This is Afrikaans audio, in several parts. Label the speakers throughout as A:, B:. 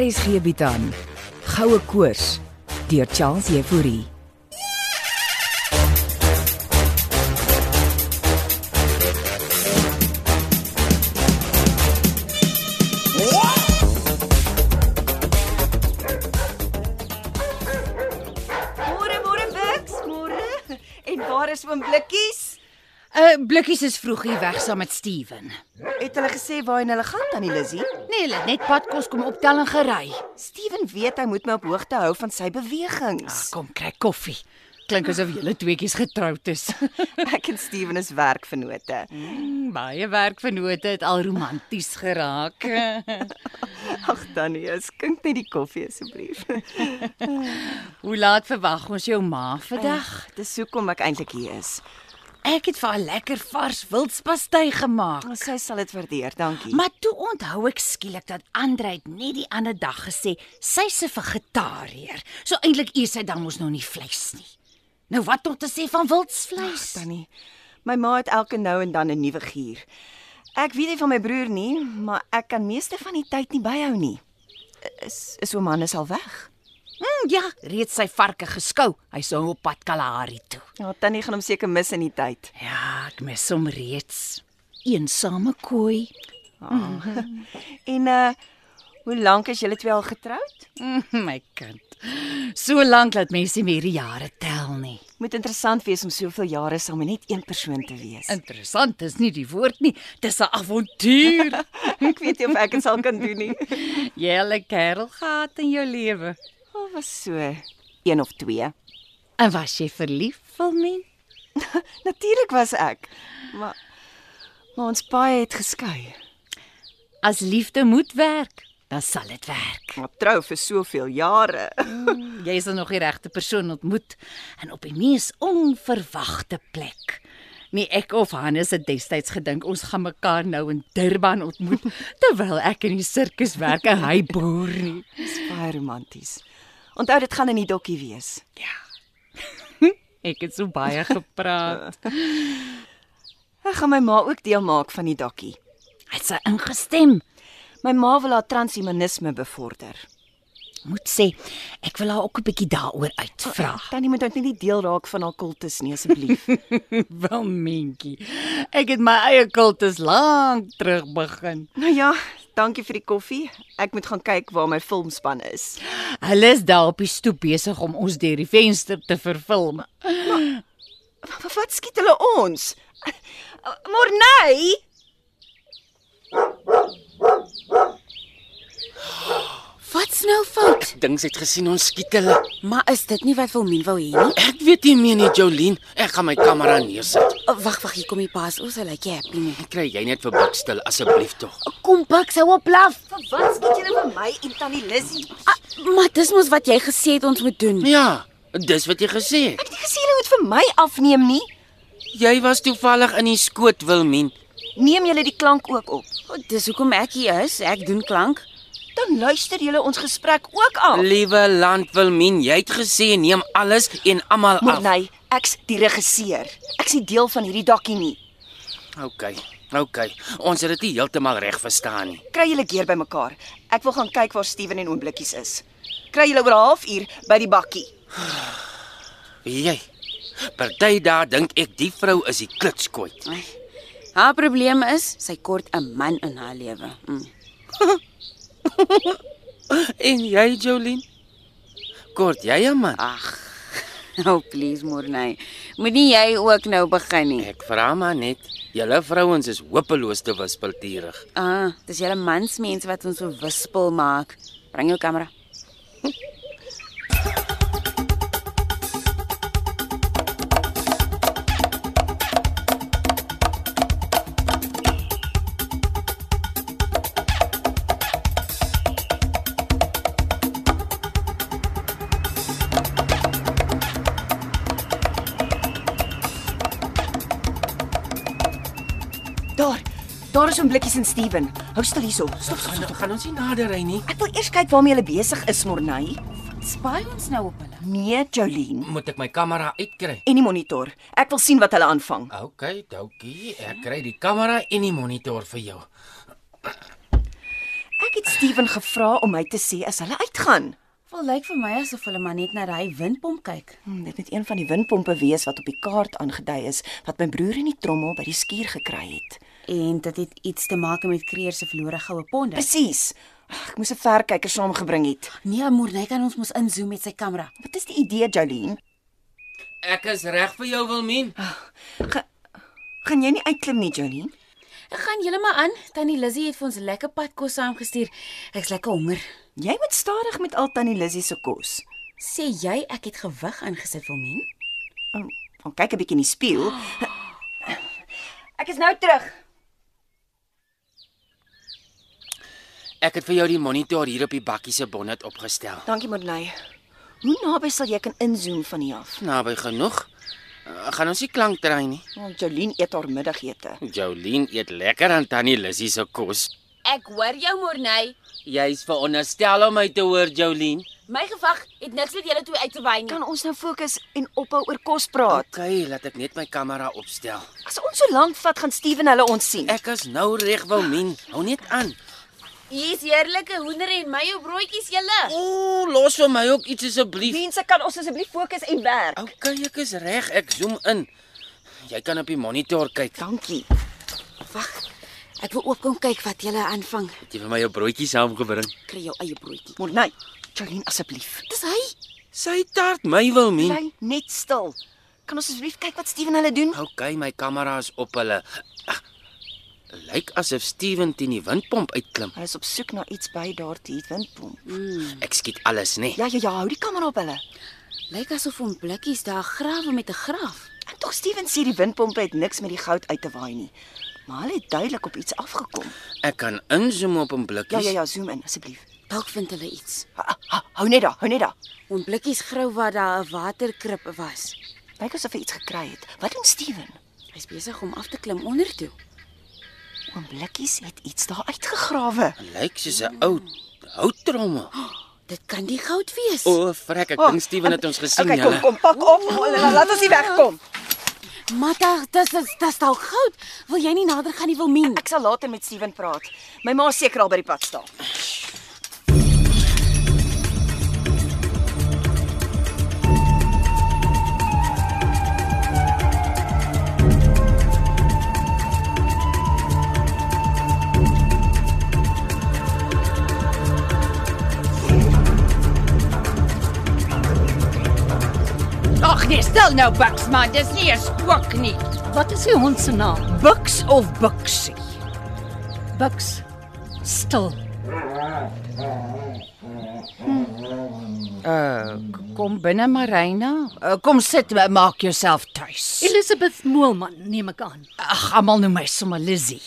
A: RSG bied aan Goue Koors deur Charles Euphorie.
B: Môre, môre Bux, môre. En waar is oom Blikkies?
C: Uh blikkies is vroeg hier weg saam met Steven.
B: Het hulle gesê waarheen hulle gaan, Tannie Lizzie?
C: Nee, hulle het net padkos kom optel en gery.
B: Steven weet hy moet my op hoogte hou van sy bewegings.
C: Kom kry koffie. Klink asof julle tweeetjies getroud is.
B: Ek en Steven is werkvennote.
C: Baie werkvennote het al romanties geraak.
B: Ag Tannie, skink net die koffie asseblief.
C: Hoe laat verwag ons jou ma vandag?
B: Dis hoekom ek eintlik hier is.
C: Ek het vir haar lekker vars wildspastei gemaak.
B: Maar sy sal dit waardeer, dankie.
C: Maar toe onthou ek skielik dat Andre het net die ander dag gesê sy's 'n vegetariër. So eintlik eet sy dan mos nou nie vleis nie. Nou wat om te sê van wildsvleis?
B: Tannie, my ma het elke nou en dan 'n nuwe gier. Ek weet nie van my broer nie, maar ek kan meeste van die tyd nie byhou nie. Is is oom Hannes al weg?
C: Mm, ja, reeds sy varke geskou. Hy's nou op pad Kalahari toe.
B: Ja, Tannie gaan hom seker mis in die tyd.
C: Ja, ek mis hom reeds. Eensame kooi.
B: En uh hoe lank is julle twee al getroud?
C: Mm, my kind. So lank laat mense nie meer die jare tel nie.
B: Moet interessant wees om soveel jare saam met net een persoon te wees.
C: Interessant is nie die woord nie. Dis 'n avontuur.
B: ek weet nie of ek dit sal kan doen nie.
C: Jy het 'n kerel gehad in jou lewe.
B: Al was so een of twee.
C: En was jy verlief, Wilmien?
B: Natuurlik was ek. Maar maar ons paai het geskei.
C: As liefde moet werk, dan sal dit werk.
B: Maar Ja, trou vir soveel jare.
C: Jy is dan nog die regte persoon ontmoet en op die mees onverwagte plek. Nee, ek of Hannes het destyds gedink ons gaan mekaar nou in Durban ontmoet terwyl ek in die sirkus werk en hy boer nie.
B: Dis baie romanties. Onthou dit gaan in die dokkie wees.
C: Ja. Ek het so baie gepraat.
B: Ek gaan my ma ook deel maak van die dokkie.
C: Het sy ingestem.
B: My ma wil haar transhumanisme bevorder.
C: Moet sê, ek wil haar ook 'n bietjie daaroor uitvra.
B: Tannie moet net nie deel raak van haar kultus nie asseblief.
C: Wel, Mentjie. Ek het my eie kultus lank terug begin.
B: nou ja, dankie vir die koffie. Ek moet gaan kyk waar my filmspan is.
C: Hulle is daar op die stoep besig om ons deur die venster te verfilm.
B: Wa- wa- Wat skiet hulle ons? Eh, Morney,
D: Wat's nou fout?
E: Dings het gesien ons skiet hulle.
D: Maar is dit nie wat Wilmien wou hê nie?
E: Ek weet nie meer nie, Jolien. Ek gaan my kamera neersit.
D: Oh, Wag, wag, hier kom die paas. Ons hy lyk like happy nie.
E: Kry jy net vir Buck stil asseblief tog.
D: Kom Buck, hou op blaf.
B: wat skiet julle vir my en Tannie Lizzie?
D: Ah, maar dis mos wat jy gesê het ons moet doen.
E: Ja, dis wat jy gesê het.
B: Ek het nie gesê julle moet vir my afneem nie.
E: Jy was toevallig in die skoot, Wilmien.
B: Neem julle die klank ook op.
D: Oh, dis hoekom ek hier is. Ek doen klank.
B: Dan luister julle ons gesprek ook af.
E: Liewe land Wilmien, jy het gesê neem alles en almal af.
B: Morney, ek's die regisseur. Ek's nie deel van hierdie dokkie nie.
D: nou-
E: OK. OK. Ons het dit nie heeltemal reg verstaan nie.
B: Kry julle keer bymekaar. Ek wil gaan kyk waar Steven en oom Blikkies is. Kry julle oor 'n halfuur by die bakkie.
E: Weet jy? Party daar dink ek die vrou is die klitskoot.
D: Ai, Haar probleem is sy kort 'n man in haar lewe. Mm.
E: En jy, Jolien? Kort jy 'n man?
D: Ag. Oh please Morney. Moenie jy ook nou begin nie.
E: Ek vra maar net. Julle vrouens is hopeloos te wispelturig.
D: Ah, dis julle mansmense wat ons so wispel maak. Bring jou kamera.
B: Daar. Daar is oom Blikkies en Steven. Hou stil hierso. Stop, stop.
E: Gaan, gaan ons nie nader ry nie.
B: Ek wil eers kyk waarmee hulle besig is, Morney.
D: Spy ons nou op hulle.
B: Nee, Jolene.
E: Moet ek my kamera uitkry?
B: En die monitor. Ek wil sien wat hulle aanvang.
E: OK, dankie. Ek kry die kamera en die monitor vir jou.
B: Ek het Steven gevra om my te sê as hulle uitgaan.
F: Wel lyk vir my asof hulle maar net na daai windpomp kyk.
B: Hm, dit moet een van die windpompe wees wat op die kaart aangedui is wat my broer in die trommel by die skuur gekry het.
F: En dit het iets te maak met Kreer se verlore goue ponde.
B: Presies. Ag, Ek moes 'n verkyker saamgebring het.
F: Nee, Morney kan ons mos inzoom met sy kamera.
B: Wat is die idee, Jolene?
E: Ek is reg vir jou, Wilmien.
B: Ge gaan jy nie uitklim nie, Jolene?
F: Ek gaan julle maar aan. Tannie Lizzy het vir ons lekker padkos saamgestuur. Ek's lekker honger.
B: Jy moet stadig met al tannie Lizzie se kos.
F: Sê jy ek het gewig aangesit, Wilmien?
B: Ehm, Gaan kyk 'n bietjie in die spieël. Ek is nou terug.
E: Ek het vir jou die monitor hier op die bakkie se bonnet opgestel.
B: Dankie, Morney. Hoe naby sal jy kan inzoom van hier af?
E: Naby genoeg. Uh, gaan ons nie klank draai nie.
B: Want Jolene Nou, eet haar middagete.
E: Jolien eet lekker aan tannie Lissy se kos.
D: Ek hoor jou Morney.
E: Jy's veronderstel om my te hoor, Jolien.
D: My gevag het niks met julle twee uit te wy nie.
B: Kan ons nou fokus en ophou oor kos praat?
E: OK, laat ek net my kamera opstel.
B: As ons so lank vat, gaan Steven hulle ons sien.
E: Ek is nou reg, Wilmien. Hou net aan.
D: Hier's heerlike hoender en mayo broodjies julle.
E: Ooh, los vir my ook iets asseblief.
B: Mense, kan ons asseblief fokus en werk?
E: OK, ek is reg. Ek zoom in. Jy kan op die monitor kyk.
B: Dankie.
F: Ek wil ook kom kyk wat julle aanvang.
E: Het jy vir my jou broodjie saamgebring?
F: Kry jou eie broodjie.
B: Morney, Jolene asseblief.
F: Dis hy.
E: Sy tart my, Wilmien.
B: Bly net stil. Kan ons asseblief kyk wat Steven hulle doen?
E: OK, my kamera is op hulle. Ag, Lyk asof Steven teen die windpomp uitklim.
B: Hulle is op soek na iets by daardie windpomp.
E: Ek skiet alles, nê.
B: Ja ja ja, hou die kamera op hulle.
F: Lyk asof hom blikkies daar grawe met 'n graf.
B: En tog Steven sê die windpomp het niks met die goud uit te waai nie. Maar hulle het duidelik op iets afgekom.
E: Ek kan inzoom op 'n
B: Ja
E: blikkie.
B: ja ja, zoom in asseblief.
F: Dalk vind hulle iets.
B: Ha, ha, hou net daar, hou net daar.
F: Hom blikkies grou wat daar 'n waterkrib was.
B: Lyk asof hy iets gekry het. Wat doen Steven?
F: Hy's besig om af te klim onder toe.
B: Oom Blikkies het iets daar uitgegrawe.
E: Lyk soos 'n ou houttrommel.
F: Dit kan die goud wees.
E: O, oh, frek, ek dink Steven het ons gesien,
B: Okay, kom
E: julle.
B: kom, pak op. Hulle laat ons nie wegkom.
F: Matta, dis dis dis dalk goud. Wil jy nie nader gaan nie, Wilmien?
B: Ek sal later met Steven praat. My ma is seker al by die pad staan.
C: Ag nee, stil nou Bucks man, dis nie eens kook nie.
A: Wat is die hond se naam? Buks of Buksie?
C: Bucks, stil. Uh, Hm. kom binne Marina. Uh, kom sit, ma- maak jouself tuis.
G: Elizabeth Moelman neem ek aan.
C: Ag, almal noem my sommer Lizzie.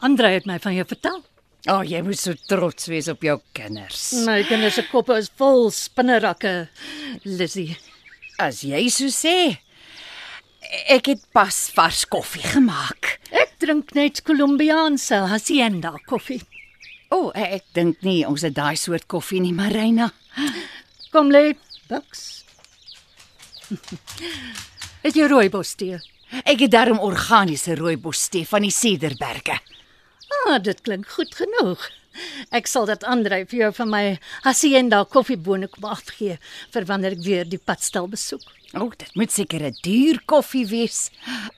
G: Andre het my van jou vertel.
C: O, oh, jy moet so trots wees op jou kinders.
G: My kinders se koppe is vol spinnerakke. Lizzie,
C: As jy so sê. Ek het pas vars koffie gemaak.
G: ek drink net Colombiaanse hacienda koffie.
C: O, oh, ek dink nie ons het daai soort koffie nie, Marina.
G: Kom lê, Bucks. Het jy rooibos tee?
C: Ek het daarom organiese rooibos tee van die Cederberge.
G: Ah, dit klink goed genoeg. Ek sal dit Andre vir jou van my hacienda koffiebone kom afgee vir wanneer ek weer die padstal besoek.
C: O, oh, dit moet seker 'n duur koffie wees.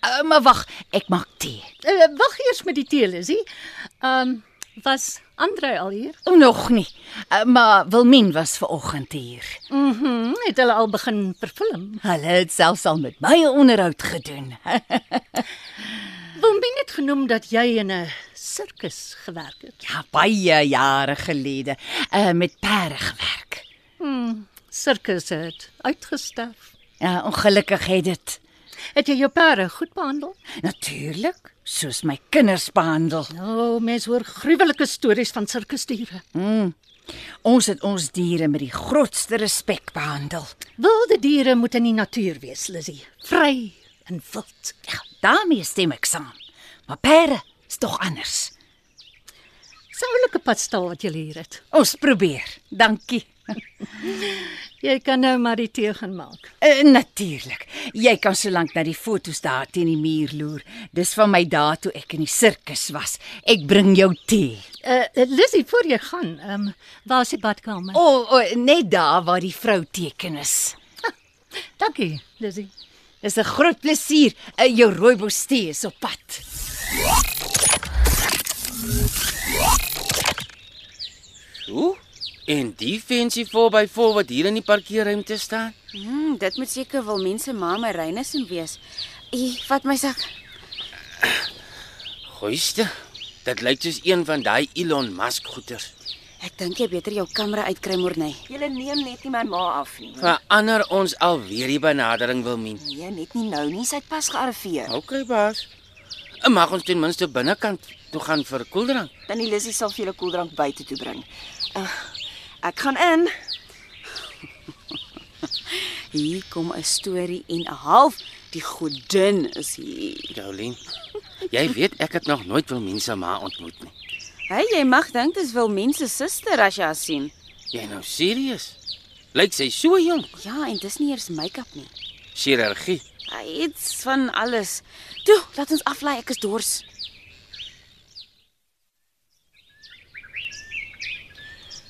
C: Uh, maar wag, ek maak tee.
G: Uh, Wag eers met die tee, Lizzie. Ehm um, was Andre al hier?
C: O, nog nie. Uh, maar Wilmien was ver oggend hier.
G: Mhm, het hulle al begin verfilm.
C: Hulle het selfs al met my 'n onderhoud gedoen.
G: Wil my net genoem dat jy in 'n sirkus gewerk het.
C: ja, baie jare gelede, uh, met perde gewerk.
G: Sirkus het uitgesterf.
C: Ja, ongelukkig het dit
G: Het jy jou perde goed behandel?
C: natuurlik soos my kinders behandel.
G: O, oh, mens hoor gruwelike stories van sirkusdiere.
C: Ons het ons diere met die grootste respek behandel.
G: Wilde diere moet in die natuur wees, Lizzie. Vry en wild.
C: Ja, daarmee stem ek saam. Maar perde is tog anders.
G: 'n oulike padstal wat jy hier het.
C: Ons probeer. Dankie.
G: Jy kan nou maar die tee gaan maak.
C: Uh, Natuurlik. Jy kan solank na die fotos daar teen die muur loer. Dis van my dae toe ek in die sirkus was. Ek bring jou tee.
G: Uh Lizzie, voor jy gaan, ehm um, waar is die badkamer?
C: O, oh, oh, net daar waar die vrou teken is.
G: dankie, Lizzie.
C: Dis 'n groot plesier. Uh, jou rooibos tee is op pad.
E: Hoe? En die fancy 4x4 wat hier in die parkeerruimte staan?
D: Hmm, dit moet seker wil mense mamma Reynus en wees. Ek vat my sak.
E: Goeiste. Dit lyk soos een van daai Elon Musk goeters.
D: Ek dink jy beter jou kamera uitkry Morney.
B: Julle neem net nie my ma af nie.
E: Verander ons alweer die benadering wil men.
B: Nee, net nie nou nie. Sy het pas gearriveer.
E: OK, baas. En Eh, mag ons ten minste binnekant toe gaan vir koeldrank.
B: Tannie Lissy sal vir julle koeldrank buite toe bring. Uh, ek gaan in.
D: Hier kom 'n storie en 'n half. Die godin is hier.
E: Jolien, jy weet ek het nog nooit wil mense ma ontmoet nie.
D: Hey, jy mag dink dis wil mense suster as jy haar sien.
E: Jy nou serieus? Lyk sy so jonk.
D: Ja, en dis nie eers make-up nie.
E: Chirurgie.
D: Hy iets van alles. Toe, laat ons aflei, ek is dors.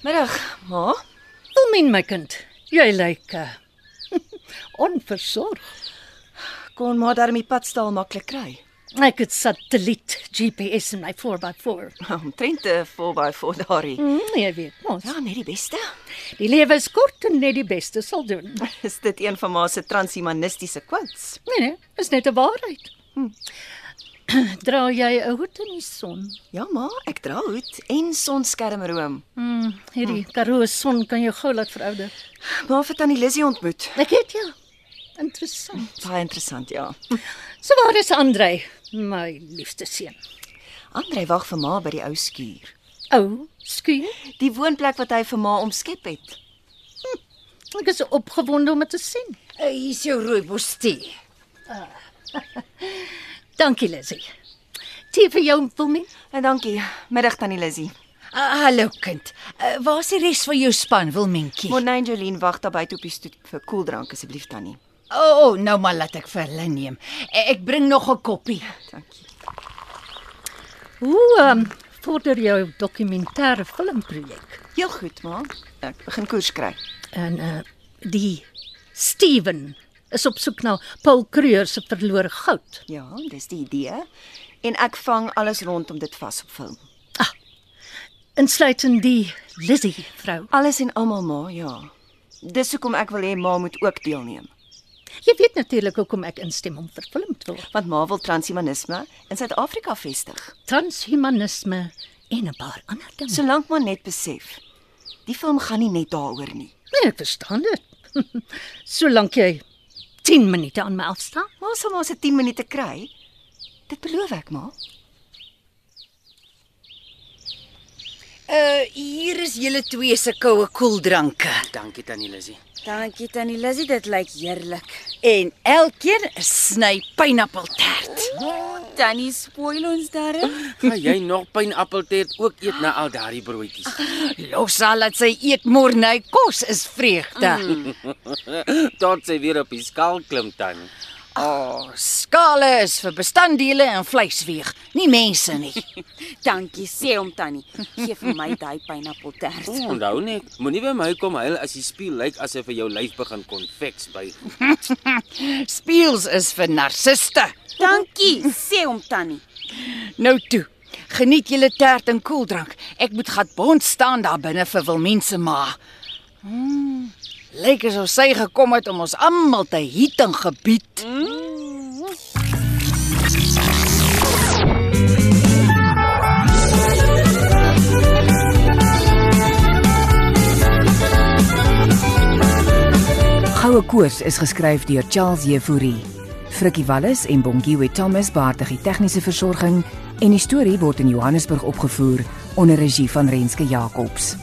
B: Middag, ma.
G: Wilmien my kind, jy lyk uh, onversorg.
B: Kon maar daarmee padstal maklik kry.
G: Ek het satelliet GPS in my 4x4.
B: Omtrent eh, 'n 4x4 daarie.
G: Mm, jy weet mos.
B: Ja, net die beste.
G: Die lewe is kort en net die beste sal doen.
B: Is dit een van ma se transhumanistiese quotes?
G: Nee nee, is net 'n waarheid. Hm. Dra jy 'n hoed in die son?
B: Ja, ma, ek dra hoed en sonskermroom.
G: Mm, hierdie Karoo son kan jou gou laat verouder.
B: Ma het tannie Lissy ontmoet.
G: Ek het ja. jou. Interessant.
B: Baie interessant, ja.
G: So waar is Andrei, my liefste seun?
B: Andre wag vir ma by die ou skuur.
G: Ou, skuur.
B: Die woonplek wat hy vir ma omskep het.
G: Ek is opgewonde om dit te sien.
C: Uh, hier is jou rooibos tee.
G: Dankie Lizzie. Tee vir jou, Wilmien.
B: En dankie. Middag tannie Lissy.
C: Uh, hallo kind. Uh, waar is die res van jou span, Wilmentjie? O,
B: Monnie en Jolien wag daar buite op die stoep vir koeldrank asseblief tannie.
C: oh, oh, nou maar laat ek vir hulle neem. Uh,
G: Eh,
C: ek bring nog 'n koppie.
B: Dankie.
G: Hoe um, vorder jou dokumentêre filmprojek?
B: Heel goed, ma. Ek begin koers kry.
G: En uh die Steven is op soek na Paul Kreur se verlore goud.
B: Ja, dis die idee. En ek vang alles rondom dit vas op film.
G: Insluitend die Lizzie vrou.
B: Alles en almal ma, ja. Dis hoekom ek wil hê ma moet ook deelneem,
G: Jy weet natuurlik hoekom ek instem om verfilm te word.
B: want ma wil transhumanisme in Suid-Afrika vestig.
G: Transhumanisme en 'n paar ander dinge. So,
B: Solank maar net besef, die film gaan nie net daaroor nie.
G: nee, ek verstaan dit. Solank jy 10 minute aan my afstaan.
B: Ma sal maar se 10 minute kry. Dit beloof ek, ma.
C: Uh, hier is julle twee se koue koeldranke.
E: Dankie tannie Lizzy.
D: Dankie tannie Lizzie, dit lyk heerlik.
C: En elkeen 'n sny pineappeltert.
D: Tannie spoil ons darm.
E: Gaan jy nog pineappeltert ook eet na al daardie broodjies?
C: Los haar laat sy eet môre kos is vreugde. Mm.
E: Tot sy weer op die skaal klim tannie.
C: Oh, skale is vir bestanddele en vleisweeg, nie mense nie.
D: Dankie sê hom tannie. Geef vir my daai pineappeltert.
E: Onthou net, moenie by my kom huil as die spieël lyk asof hy jou lyf begin konveks by.
C: Speels is vir narciste.
D: Dankie sê hom tannie.
C: Nou toe. Geniet julle tert en koeldrank. Ek moet gat bond staan daar binne vir Wilmien se ma. Hmm. Lyk asof sy gekom het om ons almal te hiet en gebied.
A: Goue koers is geskryf deur Charles Jefouri. Frikkie Wallis en Bongiwe Thomas baartig die tegniese versorging en die storie word in Johannesburg opgevoer onder regie van Renske Jacobs.